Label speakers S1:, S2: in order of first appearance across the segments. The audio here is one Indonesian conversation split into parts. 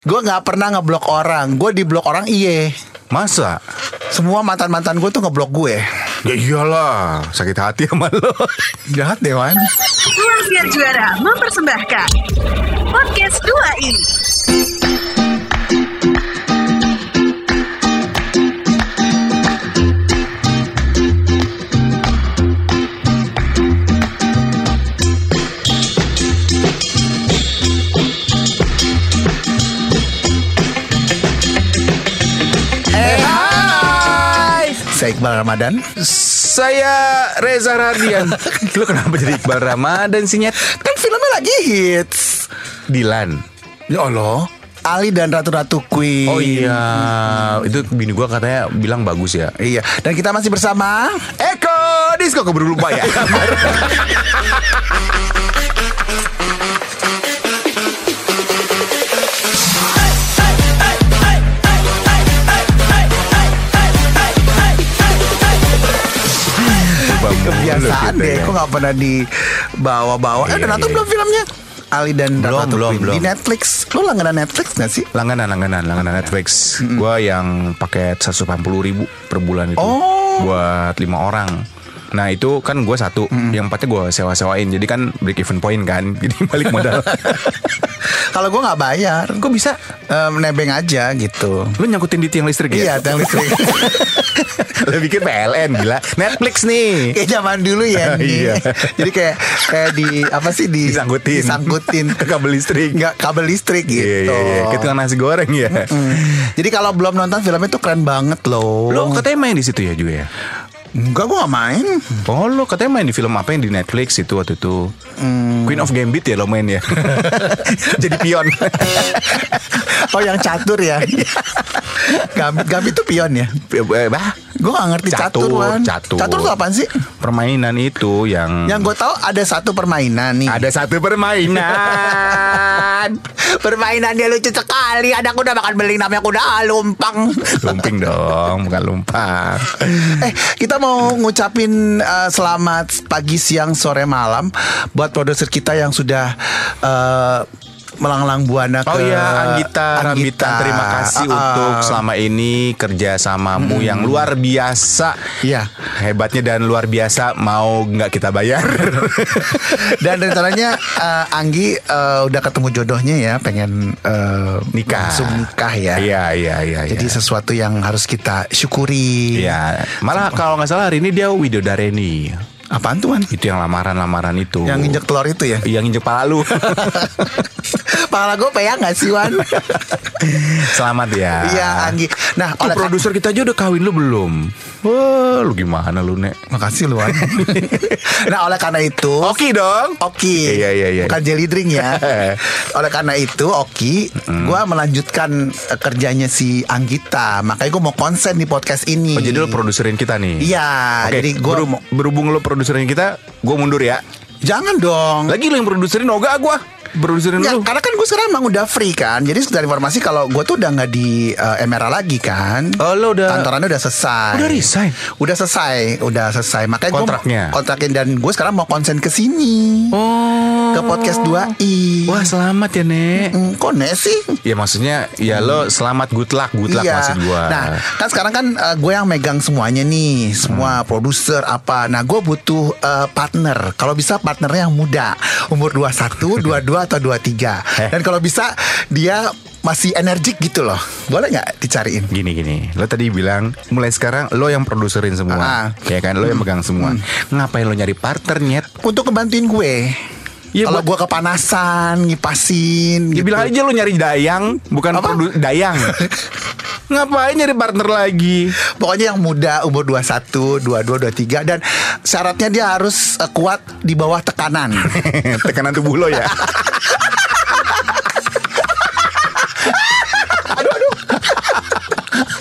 S1: Gue nggak pernah ngeblok orang. Gue diblok orang iye.
S2: Masa?
S1: Semua mantan mantan gue tuh ngeblok gue.
S2: Ya iyalah, sakit hati sama lo.
S1: Jahat deh Wan.
S3: Ruang Siar Juara mempersembahkan Podcast 2 ini
S1: Eh, hai. Saya Iqbal Ramadan.
S2: Saya Reza Radian. lo kenapa jadi Iqbal Ramadan sih Nyet?
S1: Kan filmnya lagi hits.
S2: Dilan.
S1: Ya Allah. Ali dan Ratu-Ratu Queen.
S2: Oh iya, itu bini gua katanya bilang bagus ya.
S1: Iya. Dan kita masih bersama.
S2: Eko Disco keburu lupa ya.
S1: Kebiasaan
S2: Gitu
S1: deh.
S2: ya.
S1: Kok nggak pernah dibawa-bawa. eh,
S2: Iya,
S1: udah nonton
S2: iya.
S1: belum filmnya? Ali dan
S2: Belum,
S1: Ratu-Ratu
S2: belum,
S1: Queen. Di
S2: belum.
S1: Netflix. Lu langganan Netflix nggak sih?
S2: Langganan, langganan, langganan Netflix. Gua yang paket 180 ribu per bulan itu.
S1: Oh.
S2: Buat lima orang. Nah itu kan gue satu, yang empatnya gue sewa-sewain. Jadi kan break even point kan, jadi balik modal.
S1: Kalau gue nggak bayar,
S2: Kok bisa?
S1: em, nebeng aja gitu.
S2: Lu nyangkutin di tiang listrik
S1: Iya,
S2: ya?
S1: tiang listrik.
S2: Lu bikin PLN gila. Netflix nih.
S1: Kayak zaman dulu ya
S2: Iya.
S1: nih. Jadi kayak kayak di apa sih di
S2: Disangkutin.
S1: disangkutin. Iya,
S2: Ke kabel listrik.
S1: Nggak kabel listrik gitu.
S2: Iya, iya, iya. Kayak tukang nasi goreng ya.
S1: Jadi kalau belum nonton filmnya tuh keren banget loh.
S2: Lo katanya main di situ ya juga ya?
S1: Enggak gua nggak main.
S2: Oh lo katanya main di film apa yang di Netflix itu waktu itu? Queen of Gambit ya lo main ya? Jadi pion.
S1: Oh yang catur ya.
S2: Iya.
S1: Gambit Gambit tuh pion ya.
S2: Eh, bah,
S1: Gua nggak ngerti catur,
S2: Catur,
S1: Wan.
S2: catur.
S1: tuh apaan sih?
S2: permainan itu yang,
S1: Yang gue tahu ada satu permainan nih.
S2: ada satu permainan.
S1: Permainannya lucu sekali. Ada kuda makan beling namanya kuda lumpang.
S2: lumping dong, bukan lumpang.
S1: Eh, kita mau ngucapin eh, selamat pagi, siang, sore, malam buat produser kita yang sudah eh, melanglang buana
S2: Oh
S1: ke
S2: iya, Anggita, Rambitan, terima
S1: Ah,
S2: kasih
S1: ah.
S2: untuk selama ini kerjasamamu yang luar biasa.
S1: Hmm. Iya.
S2: Hebatnya dan luar biasa mau nggak kita bayar.
S1: Dan rencananya eh, Anggi eh, udah ketemu jodohnya ya, pengen eh,
S2: Nikah.
S1: langsung nikah ya.
S2: Iya, iya, iya.
S1: Jadi
S2: iya.
S1: sesuatu yang harus kita syukuri.
S2: Iya, malah kalau nggak salah hari ini dia Widodareni.
S1: Apaan tuh, Wan?
S2: Itu yang lamaran-lamaran itu.
S1: Yang injek telur itu ya?
S2: yang injek pala lu.
S1: Pala gue peyang gak sih, Wan?
S2: Selamat ya.
S1: Iya, Anggi. Nah,
S2: Tuh,
S1: oleh
S2: produser kita aja udah kawin lu belum? Wah, lu gimana lu, Nek?
S1: Makasih lu Wan. Nah oleh karena itu
S2: Oke dong.
S1: Oki
S2: Iya, iya, iya.
S1: Bukan jelly drink ya Oleh karena itu Oki Gua melanjutkan eh, kerjanya si Anggita Makanya gue mau konsen di podcast ini
S2: Oh, jadi lu produserin kita nih.
S1: Iya,
S2: Oke,
S1: jadi gua
S2: beru-
S1: mau-
S2: berhubung lu produserin kita, gua mundur ya.
S1: Jangan dong
S2: Lagi lu yang produserin Oga gua. Produserin
S1: Ya,
S2: lu.
S1: karena kan gue sekarang emang udah free kan Jadi sekedar informasi kalau gue tuh udah nggak di eh, Emera lagi kan
S2: Oh, lo udah-
S1: Kantorannya udah selesai
S2: Udah resign?
S1: Udah selesai Udah selesai Makanya gua-
S2: Kontraknya?
S1: Kontraknya Dan gue sekarang mau konsen ke sini
S2: Oh.
S1: Ke podcast 2i
S2: Wah, selamat ya, Nek.
S1: Hmm, kok nek sih?
S2: Ya maksudnya ya lo selamat good luck, good luck maksud gua.
S1: Nah, kan sekarang kan gue yang megang semuanya nih,
S2: Hmm.
S1: semua produser apa. Nah, gue butuh eh, partner. Kalau bisa partnernya yang muda, umur 21, 22 atau
S2: Eh.
S1: 23. Dan kalau bisa dia masih energik gitu loh. Boleh nggak dicariin?
S2: Gini gini, lo tadi bilang mulai sekarang lo yang
S1: Ah.
S2: produserin
S1: Mm.
S2: semua, ya kan lo yang megang semua. Ngapain lo nyari partner nyet?
S1: Untuk ngebantuin gue.
S2: Iya,
S1: kalau
S2: buat-
S1: gue kepanasan, ngipasin
S2: Dia
S1: gitu.
S2: Ya, bilang aja lo nyari dayang, bukan
S1: Apa?
S2: produ- dayang. Ngapain nyari partner lagi?
S1: Pokoknya yang muda umur 21, 22, 23 dan syaratnya dia harus eh, kuat di bawah tekanan.
S2: Tekanan tubuh lo ya.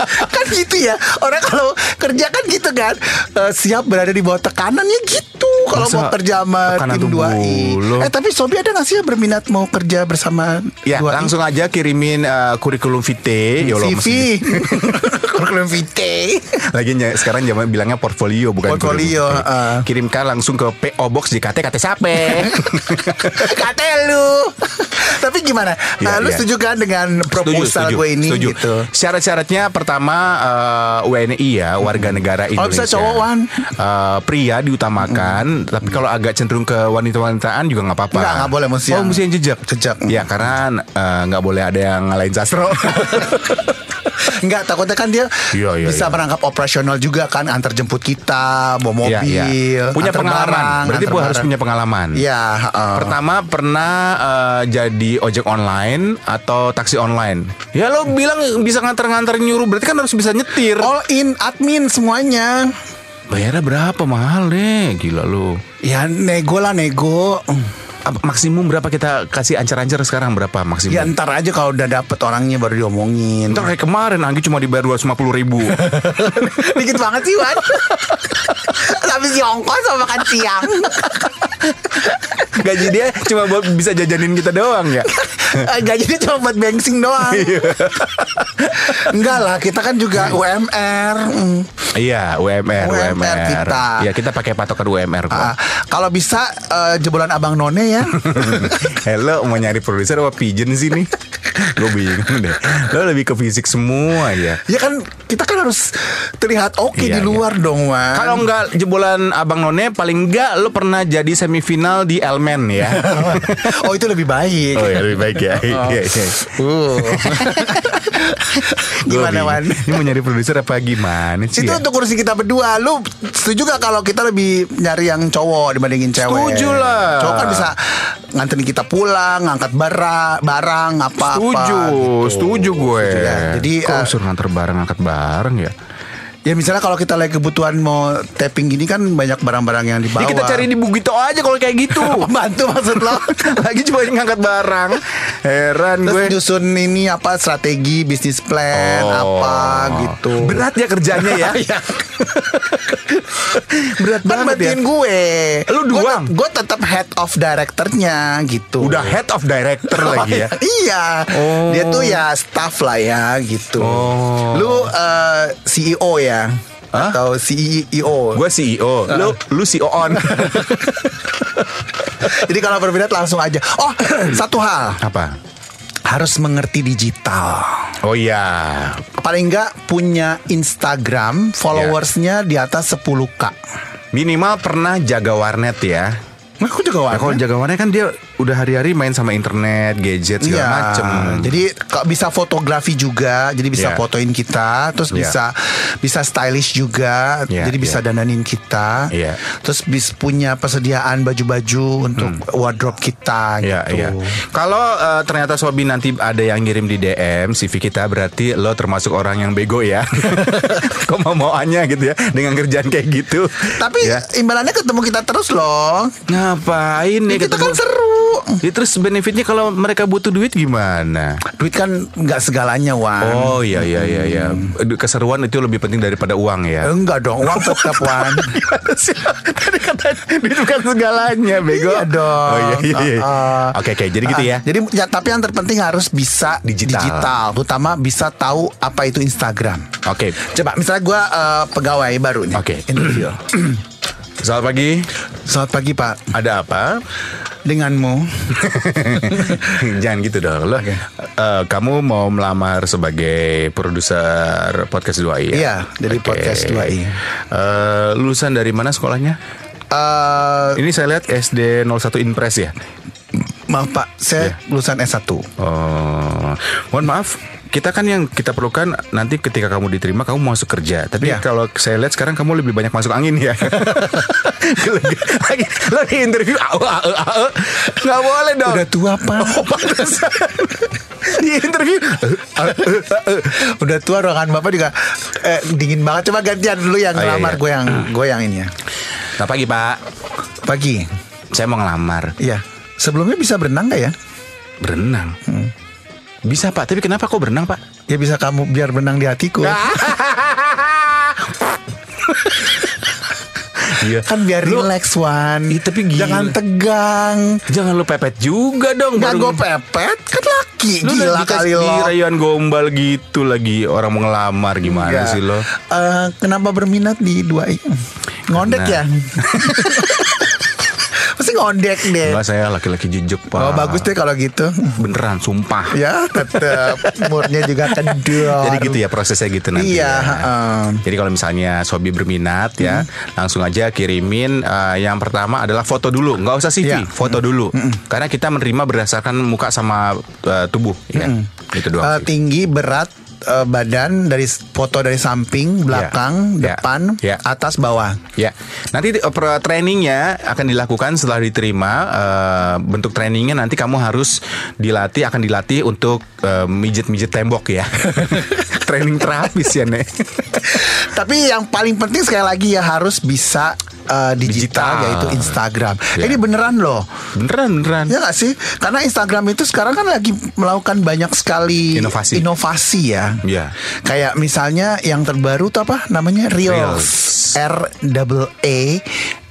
S1: kan gitu ya orang kalau kerja kan gitu kan Eh, siap berada di bawah tekanannya gitu kalau
S2: Masa
S1: mau kerja sama
S2: tekanan
S1: tim
S2: tubuh
S1: 2i.
S2: lu?
S1: Eh tapi Sobi ada nggak sih yang berminat mau kerja bersama
S2: Ya
S1: 2i?
S2: langsung aja kirimin eh, kurikulum vitae ya Allah, mesti-
S1: CV. Kurikulum vitae.
S2: Lagi ny- sekarang zaman bilangnya portfolio bukan
S1: Portfolio, ah.
S2: kurikulum vitae.
S1: heeh.
S2: Kirimkan langsung ke PO Box JKT KT Sape.
S1: Kata lu. Tapi gimana? Eh,
S2: Iya,
S1: lu
S2: iya.
S1: setuju kan dengan proposal gue ini
S2: setuju.
S1: gitu?
S2: Syarat-syaratnya pertama eh, WNI ya, warga negara
S1: Kalau Oh,
S2: Indonesia.
S1: bisa cowok, Wan.
S2: Eh, pria diutamakan, tapi kalau agak cenderung ke wanita-wanitaan juga nggak apa-apa.
S1: Nggak, nggak boleh, mesti
S2: Oh,
S1: yang-
S2: mesti yang jejak.
S1: Jejak.
S2: Ya, karena eh, nggak boleh ada yang ngalahin sastro.
S1: Enggak takutnya kan dia
S2: Iya, iya,
S1: bisa
S2: iya.
S1: merangkap operasional juga kan antar jemput kita, bawa mobil,
S2: Iya, iya. Punya
S1: antar
S2: pengalaman.
S1: barang,
S2: Berarti
S1: antar
S2: gua harus
S1: barang.
S2: punya pengalaman.
S1: Iya, heeh.
S2: Pertama pernah eh, jadi ojek online atau taksi online. Ya lo bilang bisa nganter-nganter nyuruh berarti kan harus bisa nyetir.
S1: all in admin semuanya.
S2: Bayarnya berapa mahal deh, gila lo.
S1: Ya nego lah nego.
S2: Apa- Maksimum berapa kita kasih ancar-ancar sekarang berapa maksimum?
S1: Ya ntar aja kalau udah dapet orangnya baru diomongin.
S2: Ntar kayak kemarin Anggi cuma dibayar 250 ribu
S1: Dikit banget sih Wan Tapi si ongkos sama makan siang
S2: Gaji dia cuma buat bisa jajanin kita doang ya
S1: Gajinya cuma buat bensin doang Iya. Enggak lah kita kan juga UMR Mm.
S2: Iya UMR
S1: UMR
S2: UMR,
S1: kita.
S2: Ya kita pakai patokan UMR kok
S1: Ah, Kalau bisa eh, jebolan abang none ya
S2: Hello mau nyari produser apa pigeon sih nih Gue bingung deh Lo lebih ke fisik semua ya
S1: Ya kan kita kan harus terlihat oke di
S2: Iya, iya.
S1: luar dong Wan
S2: kalau enggak jebolan Abang None paling enggak lo pernah jadi semifinal di Elmen ya.
S1: Oh itu lebih baik
S2: oh ya lebih baik ya. Iya, iya.
S1: Uh.
S2: Gua
S1: Gimana
S2: bingung.
S1: Wan?
S2: Ini mau nyari produser apa gimana sih?
S1: Itu
S2: ya?
S1: untuk kursi kita berdua Lu setuju gak kalau kita lebih nyari yang cowok dibandingin cewek?
S2: Setuju lah.
S1: Cowok kan bisa nganterin kita pulang Ngangkat barang, barang apa-apa
S2: Setuju,
S1: gitu.
S2: setuju gue.
S1: Setuju ya. Jadi
S2: kok
S1: eh,
S2: suruh nganter bareng angkat bareng ya?
S1: ya misalnya kalau kita lagi kebutuhan mau tapping gini kan Banyak barang-barang yang dibawa
S2: Ya kita cari di Bugito aja kalau kayak gitu.
S1: Pembantu maksud lo
S2: Lagi cuma ngangkat barang. Heran
S1: Terus
S2: gue.
S1: nyusun ini apa strategi bisnis plan
S2: Oh.
S1: apa gitu Iya.
S2: Berat ya kerjanya ya. Berat
S1: Kan
S2: banget ya.
S1: bantuin gue
S2: Lu doang?
S1: Gue tetap head of directornya gitu
S2: Udah head of director lagi ya.
S1: iya.
S2: Oh.
S1: Dia tuh ya staff lah ya gitu.
S2: Oh.
S1: Lu eh, CEO ya
S2: Hah?
S1: atau E CEO.
S2: Gue CEO, E lu lu CEO on.
S1: Jadi kalau berbeda langsung aja. Oh, satu hal
S2: Apa?
S1: harus mengerti digital.
S2: Oh iya.
S1: Paling nggak punya
S2: Iya.
S1: Instagram followersnya di atas 10k.
S2: Minimal pernah jaga warnet ya.
S1: Nah, aku juga
S2: Nah, kalau jaga warnet kan dia udah hari-hari main sama internet, gadget segala
S1: Iya.
S2: macem.
S1: Jadi kok bisa fotografi juga, jadi bisa
S2: Iya.
S1: fotoin kita, terus
S2: Iya.
S1: bisa bisa stylish juga,
S2: Iya,
S1: jadi bisa
S2: iya.
S1: dananin kita.
S2: Iya.
S1: Terus bis punya persediaan baju-baju untuk wardrobe kita
S2: Hmm. Iya,
S1: gitu.
S2: iya. Kalau eh, ternyata Sobi nanti ada yang ngirim di DM CV kita berarti lo termasuk orang yang bego ya. Kok mau-mauannya gitu ya dengan kerjaan kayak gitu.
S1: Tapi
S2: ya.
S1: imbalannya ketemu kita terus loh.
S2: ngapain
S1: Ya,
S2: ya
S1: kita kan
S2: ketemu?
S1: seru.
S2: Ya, terus benefitnya kalau mereka butuh duit gimana?
S1: Duit kan nggak segalanya, Wan.
S2: Oh iya iya iya iya. Aduh, Keseruan itu lebih penting daripada uang ya.
S1: Enggak dong, uang tetap Wan.
S2: Gimana sih? Tadi kata duit bukan segalanya, bego.
S1: Iya dong.
S2: Oh iya iya. iya.
S1: Uh-uh.
S2: Oke oke, jadi gitu ya.
S1: Ah, Jadi ya, tapi yang terpenting harus bisa
S2: Digital.
S1: digital, terutama bisa tahu apa itu Instagram.
S2: Oke.
S1: Coba misalnya gue pegawai baru nih.
S2: Oke.
S1: Interview.
S2: Selamat pagi.
S1: Selamat pagi Pak.
S2: Ada apa?
S1: Denganmu.
S2: Jangan gitu dong loh. Eh, kamu mau melamar sebagai produser podcast 2i ya?
S1: Iya, dari
S2: Oke.
S1: podcast 2i.
S2: Eh, lulusan dari mana sekolahnya?
S1: Eh,
S2: Ini saya lihat SD 01 Inpres ya.
S1: maaf Pak, saya
S2: Iya.
S1: lulusan S1.
S2: Oh, mohon maaf. Kita kan yang kita perlukan nanti ketika kamu diterima kamu masuk kerja. Tapi
S1: Iya.
S2: kalau saya lihat sekarang kamu lebih banyak masuk angin ya. lagi, lagi, lagi interview awe awe awe. Nggak boleh dong.
S1: Udah tua
S2: Oh.
S1: Pak.
S2: Pantesan. Di interview
S1: Udah tua ruangan Bapak juga eh, dingin banget. Coba gantian dulu yang
S2: Oh, iya,
S1: ngelamar
S2: iya.
S1: gue yang gue yang ini ya.
S2: Selamat pagi pak
S1: Pagi.
S2: Saya mau ngelamar
S1: Iya. Sebelumnya bisa berenang nggak ya?
S2: Berenang Bisa pak Tapi kenapa kok berenang pak
S1: Ya bisa kamu
S2: Nah.
S1: biar benang di hatiku.
S2: Iya.
S1: Kan biar
S2: Lu-
S1: relax Wan
S2: Ih, tapi gila.
S1: Jangan tegang
S2: Jangan lu pepet juga dong
S1: Gak
S2: baru-
S1: gue pepet Kan laki
S2: Lu
S1: Gila
S2: udah
S1: kali
S2: dikasih
S1: lo
S2: di rayuan gombal gitu lagi Orang mau ngelamar gimana
S1: Enggak.
S2: sih lo
S1: Iya. Eh, Kenapa berminat di dua ini Ngondek ya
S2: Karena-
S1: Pasti ngondek deh
S2: Enggak saya laki-laki jejek pak
S1: Oh bagus deh kalau gitu
S2: Beneran sumpah
S1: Ya tetap Murnya juga kendor
S2: Jadi gitu ya prosesnya gitu nanti
S1: Iya,
S2: ya.
S1: heeh.
S2: Jadi kalau misalnya Sobi berminat ya Langsung aja kirimin eh, Yang pertama adalah foto dulu nggak usah CV
S1: Iya.
S2: Foto dulu Karena kita menerima berdasarkan muka sama eh, tubuh ya. Itu
S1: Eh,
S2: doang sih.
S1: tinggi berat eh, badan dari s- foto dari samping belakang
S2: Ya.
S1: depan
S2: Ya.
S1: atas bawah
S2: Ya, nanti eh, per- trainingnya akan dilakukan setelah diterima. Eh, bentuk trainingnya nanti kamu harus dilatih, akan dilatih untuk eh, mijet-mijet tembok ya. Training terapis ya nek.
S1: tapi yang paling penting sekali lagi ya harus bisa eh, digital,
S2: Digital.
S1: yaitu Instagram
S2: Ya.
S1: ini beneran loh
S2: Beneran beneran.
S1: ya nggak sih karena Instagram itu sekarang kan lagi melakukan banyak sekali
S2: Inovasi.
S1: inovasi ya
S2: Iya.
S1: kayak misalnya yang terbaru tuh apa namanya Reels,
S2: Reels.
S1: R double E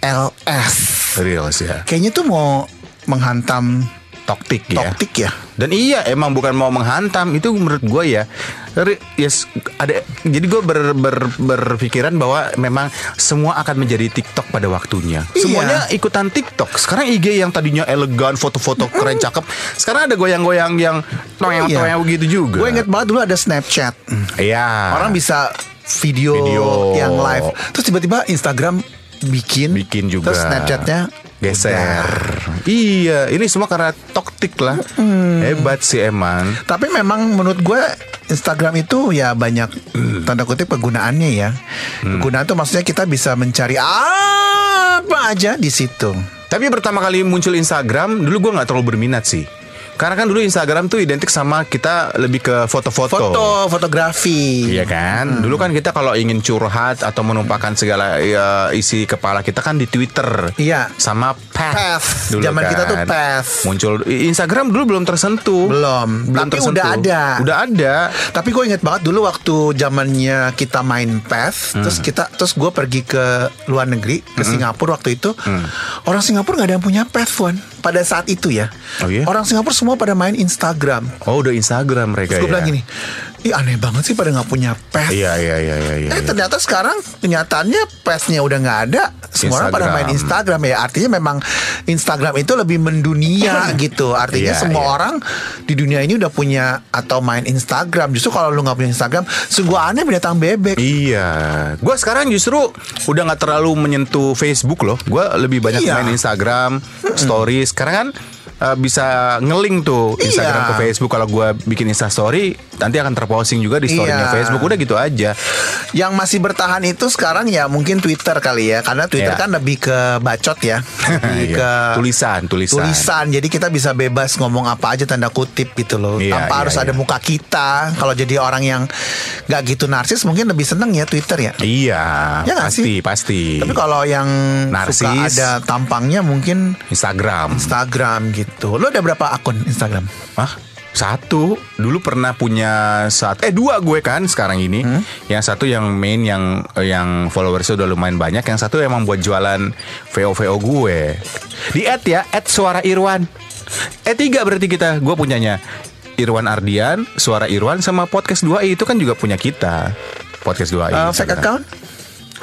S1: L S
S2: Real sih ya.
S1: kayaknya tuh mau menghantam
S2: Toktik ya.
S1: toktik ya
S2: Dan iya emang bukan mau menghantam itu menurut gue ya. Re- Yes, ada jadi gue ber, ber- berpikiran bahwa memang semua akan menjadi TikTok pada waktunya.
S1: Iya.
S2: Semuanya ikutan TikTok. Sekarang IG yang tadinya elegan, foto-foto keren, cakep. Sekarang ada goyang-goyang yang toyang
S1: Iya.
S2: toyang gitu juga.
S1: Gue inget banget dulu ada Snapchat.
S2: Iya.
S1: Orang bisa video,
S2: Video.
S1: yang live. Terus tiba-tiba Instagram bikin.
S2: bikin juga.
S1: Terus Snapchatnya
S2: geser.
S1: udah.
S2: Iya, ini semua karena toktik lah. Hebat sih emang.
S1: Tapi memang menurut gue Instagram itu ya banyak
S2: Hmm.
S1: tanda kutip kegunaannya ya. Kegunaan tuh maksudnya kita bisa mencari apa aja di situ.
S2: Tapi pertama kali muncul Instagram, dulu gue nggak terlalu berminat sih. Karena kan dulu Instagram tuh identik sama kita lebih ke foto-foto.
S1: Foto, Hmm. fotografi.
S2: Oh. Iya kan, dulu kan kita kalau ingin curhat atau menumpahkan segala ya, isi kepala kita kan di Twitter,
S1: Iya.
S2: sama Path. kan.
S1: Path. Zaman kita tuh Path.
S2: Muncul Instagram dulu belum tersentuh,
S1: Belum. Tapi udah ada.
S2: udah ada.
S1: Tapi gue inget banget dulu waktu zamannya kita main PES,
S2: Hmm.
S1: terus kita terus gue pergi ke luar negeri ke Singapura waktu itu.
S2: Hmm.
S1: Orang Singapura nggak ada yang punya PES Wan pada saat itu ya.
S2: Oh iya?
S1: Orang Singapura semua pada main Instagram.
S2: Oh udah Instagram mereka
S1: Terus gue
S2: ya.
S1: bilang gini, ih aneh banget sih pada nggak punya E PES.
S2: Iya iya iya iya. iya,
S1: Eh
S2: iya.
S1: ternyata sekarang kenyataannya pesnya udah nggak ada Semua orang pada
S2: Instagram.
S1: main Instagram ya Artinya memang Instagram itu lebih mendunia gitu Artinya
S2: Iya,
S1: semua
S2: iya.
S1: orang di dunia ini udah punya atau main Instagram Justru kalau lu nggak punya Instagram Sungguh aneh binatang bebek
S2: Iya, gue sekarang justru udah nggak terlalu menyentuh Facebook loh. Gue lebih banyak
S1: Iya.
S2: main Instagram, Stories. Sekarang kan eh, bisa ngeling tuh
S1: Iya.
S2: Instagram ke Facebook. Kalau gue bikin Insta Story, nanti akan terposting juga di
S1: Iya.
S2: storynya Facebook. Udah gitu aja.
S1: Yang masih bertahan itu sekarang ya mungkin Twitter kali ya Karena Twitter
S2: Iya.
S1: kan lebih ke bacot ya Lebih
S2: Iya.
S1: ke
S2: tulisan, tulisan.
S1: tulisan jadi kita bisa bebas ngomong apa aja tanda kutip gitu loh
S2: Iya,
S1: tanpa
S2: iya,
S1: harus
S2: iya.
S1: ada muka kita kalau jadi orang yang nggak gitu narsis mungkin lebih seneng ya Twitter ya
S2: Iya,
S1: Ya nggak
S2: pasti,
S1: sih?
S2: pasti.
S1: tapi kalau yang suka
S2: Iya. Narsis.
S1: ada tampangnya mungkin
S2: Instagram.
S1: Instagram gitu lo ada berapa akun Instagram
S2: Hah? Satu Dulu pernah punya saat Eh dua gue kan sekarang ini
S1: Hmm?
S2: Yang satu yang main yang yang followersnya udah lumayan banyak Yang satu emang buat jualan VO-VO gue Di add ya Add suara Irwan Eh tiga berarti kita Gue punyanya Irwan Ardian Suara Irwan Sama podcast 2i Itu kan juga punya kita Podcast
S1: Eh,
S2: 2i
S1: fake
S2: Iya, Instagram.
S1: account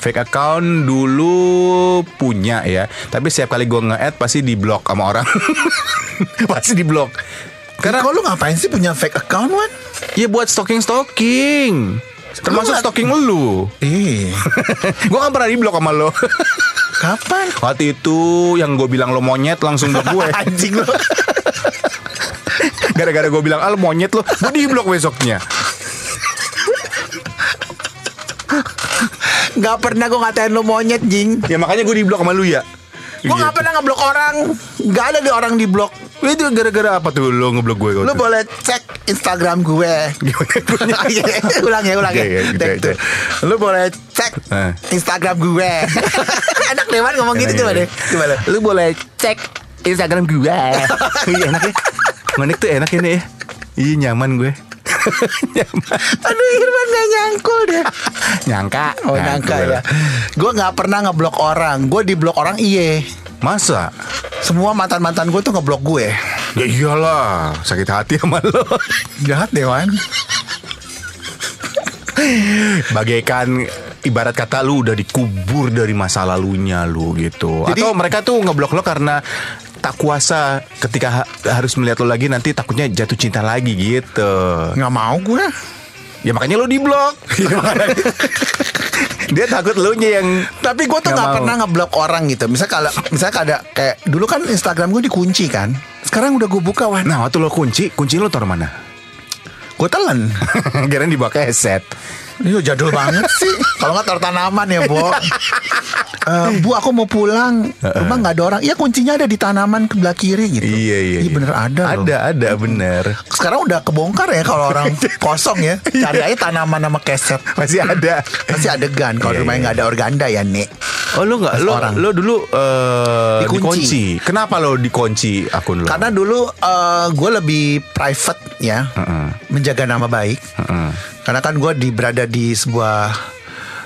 S2: Fake account dulu punya ya, tapi setiap kali gue nge-add pasti diblok sama orang. pasti diblok.
S1: karena
S2: Karena
S1: kalau ngapain sih punya fake account Wan
S2: ya buat stalking-stalking. Termasuk
S1: Lu nggak-
S2: stalking lu.
S1: ih
S2: Iya. gue kan pernah diblok sama lo.
S1: kapan
S2: Waktu itu yang gue bilang lo monyet langsung ke gue.
S1: anjing lo
S2: Gara-gara gue bilang al monyet lo, gue diblok besoknya.
S1: nggak pernah gue ngatain lo monyet jing
S2: Ya makanya gue diblok sama lu ya.
S1: gue nggak
S2: Gitu.
S1: pernah ngeblok orang nggak ada di orang di blok
S2: Itu gara-gara apa tuh lo ngeblok gue? waktu
S1: Lu
S2: itu?
S1: boleh cek Instagram gue. ulang ya, ulang ya.
S2: Iya, iya, gitu,
S1: Cek
S2: gitu.
S1: tuh. Lu boleh cek
S2: Eh.
S1: Instagram gue. Enak deh Wan, ngomong gitu
S2: Enak,
S1: coba
S2: enak.
S1: deh. Coba deh.
S2: Lu boleh cek
S1: Eh, oh
S2: Instagram gue. Iya enak ya. Ngenik tuh enak ini ya. Iya nyaman gue.
S1: Aduh Irfan gak nyangkul deh
S2: nyangka.
S1: Oh nyangka
S2: gue
S1: ya
S2: lah.
S1: Gue gak pernah ngeblok orang Gue di blok orang iye
S2: Masa?
S1: Semua mantan-mantan gue tuh ngeblok gue
S2: Ya iyalah, sakit hati sama lo.
S1: Jahat deh Wan
S2: Bagaikan ibarat kata lu udah dikubur dari masa lalunya lu gitu.
S1: Jadi-
S2: Atau mereka tuh ngeblok lo karena tak kuasa ketika ha- harus melihat lo lagi nanti takutnya jatuh cinta lagi gitu.
S1: Gak mau gue
S2: Ya makanya lo diblok.
S1: Iya.
S2: Dia takut lo nya yang
S1: Tapi gue tuh
S2: Nggak
S1: gak,
S2: mau.
S1: pernah ngeblok orang gitu Misal kalau Misal ada kayak Dulu kan Instagram gue dikunci kan Sekarang udah gue buka Wan
S2: Nah, waktu lo kunci, kunci lo taruh mana?
S1: Gue telan
S2: Kirain dibawa ke headset.
S1: Iya jadul banget sih Kalau nggak taruh tanaman ya Bo Eh, Bu aku mau pulang Rumah nggak ada orang Iya kuncinya ada di tanaman kebelah kiri gitu
S2: Iya, iya. iya.
S1: bener ada loh.
S2: Ada, ada bener.
S1: Sekarang udah kebongkar ya Kalau orang kosong ya Cari aja tanaman sama keset
S2: Iya. Masih ada.
S1: Masih adegan Kalau
S2: Iya,
S1: rumahnya
S2: iya.
S1: nggak ada organda ya Nek
S2: Oh lo nggak lo
S1: Orang.
S2: lo dulu eh,
S1: Dikunci.
S2: dikunci. Kenapa lo dikunci akun lo?
S1: Karena dulu gue lebih private ya, menjaga nama baik. Karena kan gue di, berada di sebuah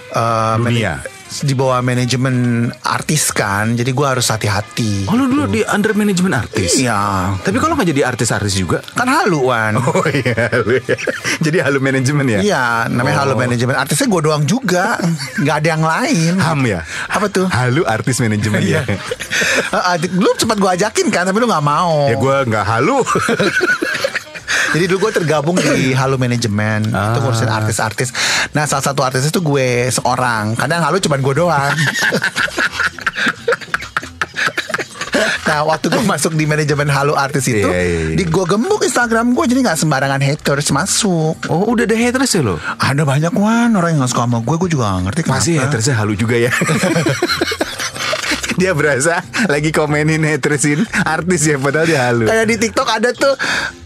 S1: eh,
S2: Dunia.
S1: mana- di bawah manajemen artis kan, jadi gue harus hati-hati.
S2: oh lo dulu di under management artis.
S1: Iya,
S2: Tapi kalau nggak jadi artis-artis juga?
S1: kan haluan.
S2: Oh iya, lu ya. jadi halo manajemen ya?
S1: Iya, namanya halu
S2: Oh.
S1: manajemen. Artisnya gue doang juga, nggak ada yang lain.
S2: Ham ya?
S1: Apa tuh?
S2: Halo artis manajemen ya?
S1: Eh, eh, lu cepat gue ajakin kan, tapi lu nggak mau.
S2: ya gue nggak halo.
S1: Jadi dulu gue tergabung di Halo Manajemen Itu ngurusin artis-artis Nah salah satu artis itu gue seorang Kadang Halo cuman gue doang Nah waktu gue masuk di manajemen Halo Artis itu
S2: Iya, iya, iya.
S1: Di gue gembuk Instagram gue Jadi gak sembarangan haters masuk
S2: oh udah ada haters ya lo?
S1: Ada banyak wan orang yang gak suka sama gue Gue juga gak ngerti
S2: Pasti
S1: kenapa.
S2: hatersnya halu juga ya. dia berasa lagi komenin hatersin artis ya padahal dia halu.
S1: Kayak di TikTok ada tuh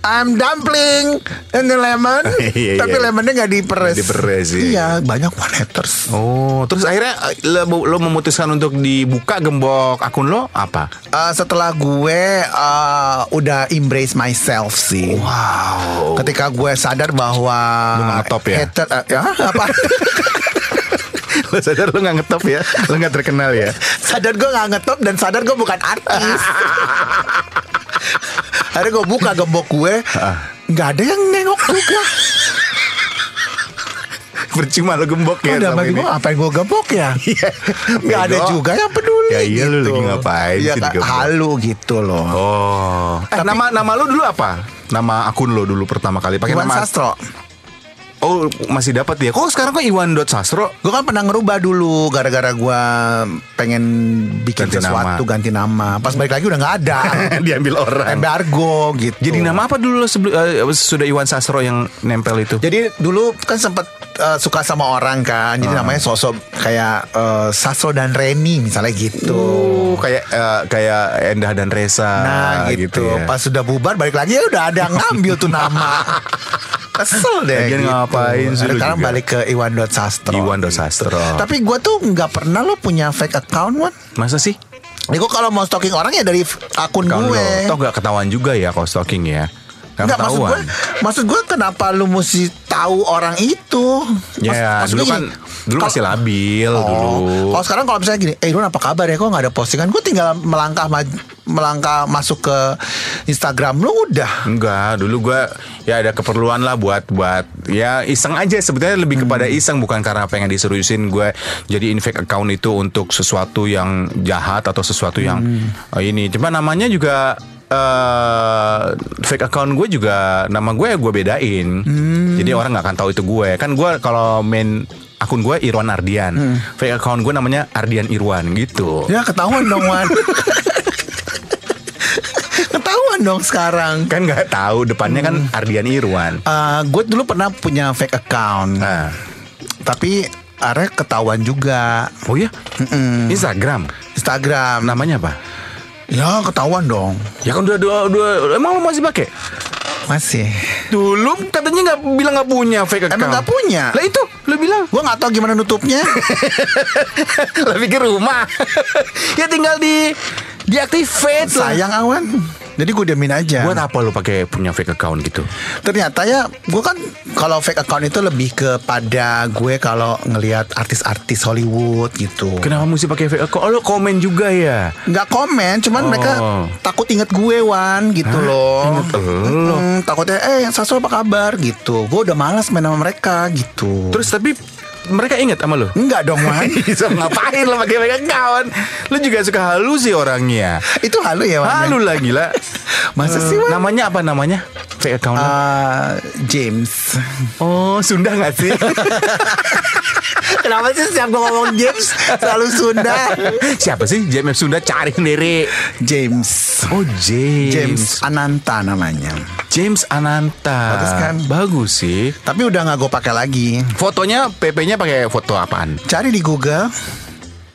S1: I'm dumpling and the lemon
S2: Iya, iya,
S1: Tapi
S2: iya.
S1: lemonnya gak diperes
S2: Nggak diperes, iya.
S1: Iya banyak wan haters
S2: Oh, terus akhirnya eh, lo, lo memutuskan untuk dibuka gembok akun lo apa?
S1: Uh, setelah gue uh, udah embrace myself sih.
S2: Wow.
S1: Ketika gue sadar bahwa
S2: Lu nggak ngetop ya?
S1: hater- uh, ya, apa?
S2: lo sadar lo nggak ngetop ya, lo nggak terkenal ya.
S1: sadar gue nggak ngetop dan sadar gue bukan artis. Akhirnya gue buka gembok gue,
S2: Ah.
S1: nggak ada yang nengok juga.
S2: Percuma lo gembok ya.
S1: Udah
S2: sama
S1: bagi
S2: ini.
S1: gue apa yang gue gembok ya?
S2: Iya.
S1: Nggak ada
S2: Bego.
S1: juga yang peduli.
S2: Ya iya, lu
S1: gitu.
S2: lagi ngapain
S1: Iya
S2: sih
S1: kan,
S2: digembok?
S1: halu gitu loh.
S2: Oh. Eh,
S1: Tapi-
S2: nama nama lo dulu apa? Nama akun lo dulu pertama kali pakai
S1: Iwan
S2: nama.
S1: Sastro.
S2: Oh masih dapat ya? Kok sekarang kok Iwan dot Sastro?
S1: Gue kan pernah ngerubah dulu gara-gara gue pengen bikin
S2: Ganti
S1: sesuatu
S2: nama.
S1: ganti nama. Pas balik lagi udah nggak ada.
S2: Diambil orang. Oh.
S1: Embargo gitu.
S2: Jadi nama apa dulu lo sebelum eh, sudah Iwan Sastro yang nempel itu?
S1: Jadi dulu kan sempet eh, suka sama orang kan. Jadi
S2: Ah.
S1: namanya sosok kayak eh, Sastro dan Reni misalnya gitu.
S2: Oh, kayak eh, kayak Endah dan Resa
S1: Nah gitu.
S2: ya.
S1: Pas sudah bubar balik lagi ya udah ada yang ngambil tuh nama. Kesel deh. gitu.
S2: Lagian ngapain sih lu
S1: Sekarang
S2: juga?
S1: balik ke Iwan Dot Sastro.
S2: Iwan Dot Sastro.
S1: Tapi gue tuh nggak pernah lo punya fake account, Wan.
S2: Masa sih?
S1: Ya gue kalau mau stalking orang ya dari f- akun
S2: Kalau
S1: gue.
S2: toh gak ketahuan juga ya kalau stalking ya. Gak
S1: Enggak maksud gue,
S2: ketahuan.
S1: maksud gue kenapa lu mesti tahu orang itu? Maksud-
S2: Ya,
S1: maksud
S2: dulu
S1: gue
S2: kan
S1: gini,
S2: dulu
S1: kalau-
S2: masih labil
S1: Oh,
S2: dulu.
S1: Kalau sekarang kalau misalnya gini, eh Irwan apa kabar ya? Kok nggak ada postingan? Gue tinggal melangkah ma- melangkah masuk ke Instagram lu udah.
S2: Enggak, dulu gue ya ada keperluan lah buat buat ya iseng aja sebetulnya lebih
S1: Hmm.
S2: kepada iseng bukan karena pengen diseriusin gue jadi infect account itu untuk sesuatu yang jahat atau sesuatu yang
S1: Hmm.
S2: oh, ini. Cuma namanya juga eh fake account gue juga nama gue gue bedain.
S1: Hmm.
S2: Jadi orang nggak akan tahu itu gue. Kan gue kalau main akun gue Irwan Ardian,
S1: Hmm.
S2: fake account gue namanya Ardian Irwan gitu.
S1: Ya ketahuan dong Wan. ketahuan dong sekarang.
S2: Kan nggak tahu depannya kan Ardian Irwan.
S1: Eh, gue dulu pernah punya fake account,
S2: Nah.
S1: tapi akhirnya ketahuan juga
S2: Oh ya, Instagram.
S1: Instagram. Nah,
S2: Namanya apa?
S1: Ya ketahuan dong
S2: Ya kan dua dua dua. Emang lo masih pakai?
S1: Masih
S2: Dulu katanya nggak bilang nggak punya fake account.
S1: Emang nggak punya?
S2: Lah iya. itu lo bilang.
S1: Gue gak tahu gimana nutupnya
S2: lo pikir rumah. ya tinggal di diaktifate lah.
S1: Sayang awan Jadi gue diamin aja.
S2: Buat apa lu pakai punya fake account gitu?
S1: Ternyata ya gue kan kalau fake account itu lebih kepada gue kalau ngelihat artis-artis Hollywood gitu.
S2: Kenapa mesti pakai fake account? Oh, lu komen juga ya.
S1: nggak komen cuman
S2: Oh.
S1: mereka takut inget gue Wan gitu loh
S2: Inget lo.
S1: Mm, takutnya eh Sasso apa kabar gitu gue udah malas main sama mereka gitu
S2: Terus tapi mereka ingat sama lu?
S1: enggak dong Wan
S2: So, ngapain lo pakai fake account? Lu juga suka halu sih orangnya.
S1: itu halu ya Wan
S2: Halu lah gila.
S1: Masa
S2: Eh,
S1: sih, Wan?
S2: Namanya apa namanya? Fake account.
S1: Eh, James
S2: oh, Sunda gak sih?
S1: Kenapa sih setiap gue ngomong James Selalu Sunda
S2: Siapa sih? James Sunda cari sendiri.
S1: James
S2: Oh,
S1: James Ananta namanya
S2: James Ananta.
S1: Bagus kan?
S2: Bagus sih.
S1: Tapi udah nggak gue pakai lagi
S2: Fotonya PP-nya pakai foto apaan?
S1: Cari di Google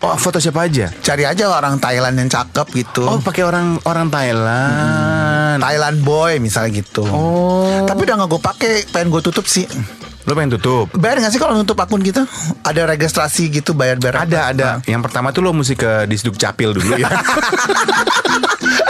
S2: Oh, foto siapa aja?
S1: Cari aja orang Thailand yang cakep gitu
S2: Oh, pakai orang orang Thailand.
S1: Thailand boy misalnya gitu
S2: Oh.
S1: Tapi udah nggak gue pakai Pengen gue tutup sih
S2: Lo Hmm. pengen tutup?
S1: Bayar gak sih kalau nutup akun kita? Ada registrasi gitu bayar-bayar
S2: Ada, ada. Yang pertama tuh lo mesti ke Disduk Capil dulu ya.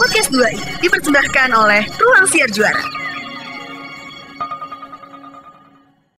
S3: Podcast 2 dipersembahkan oleh Ruang Siar Juara.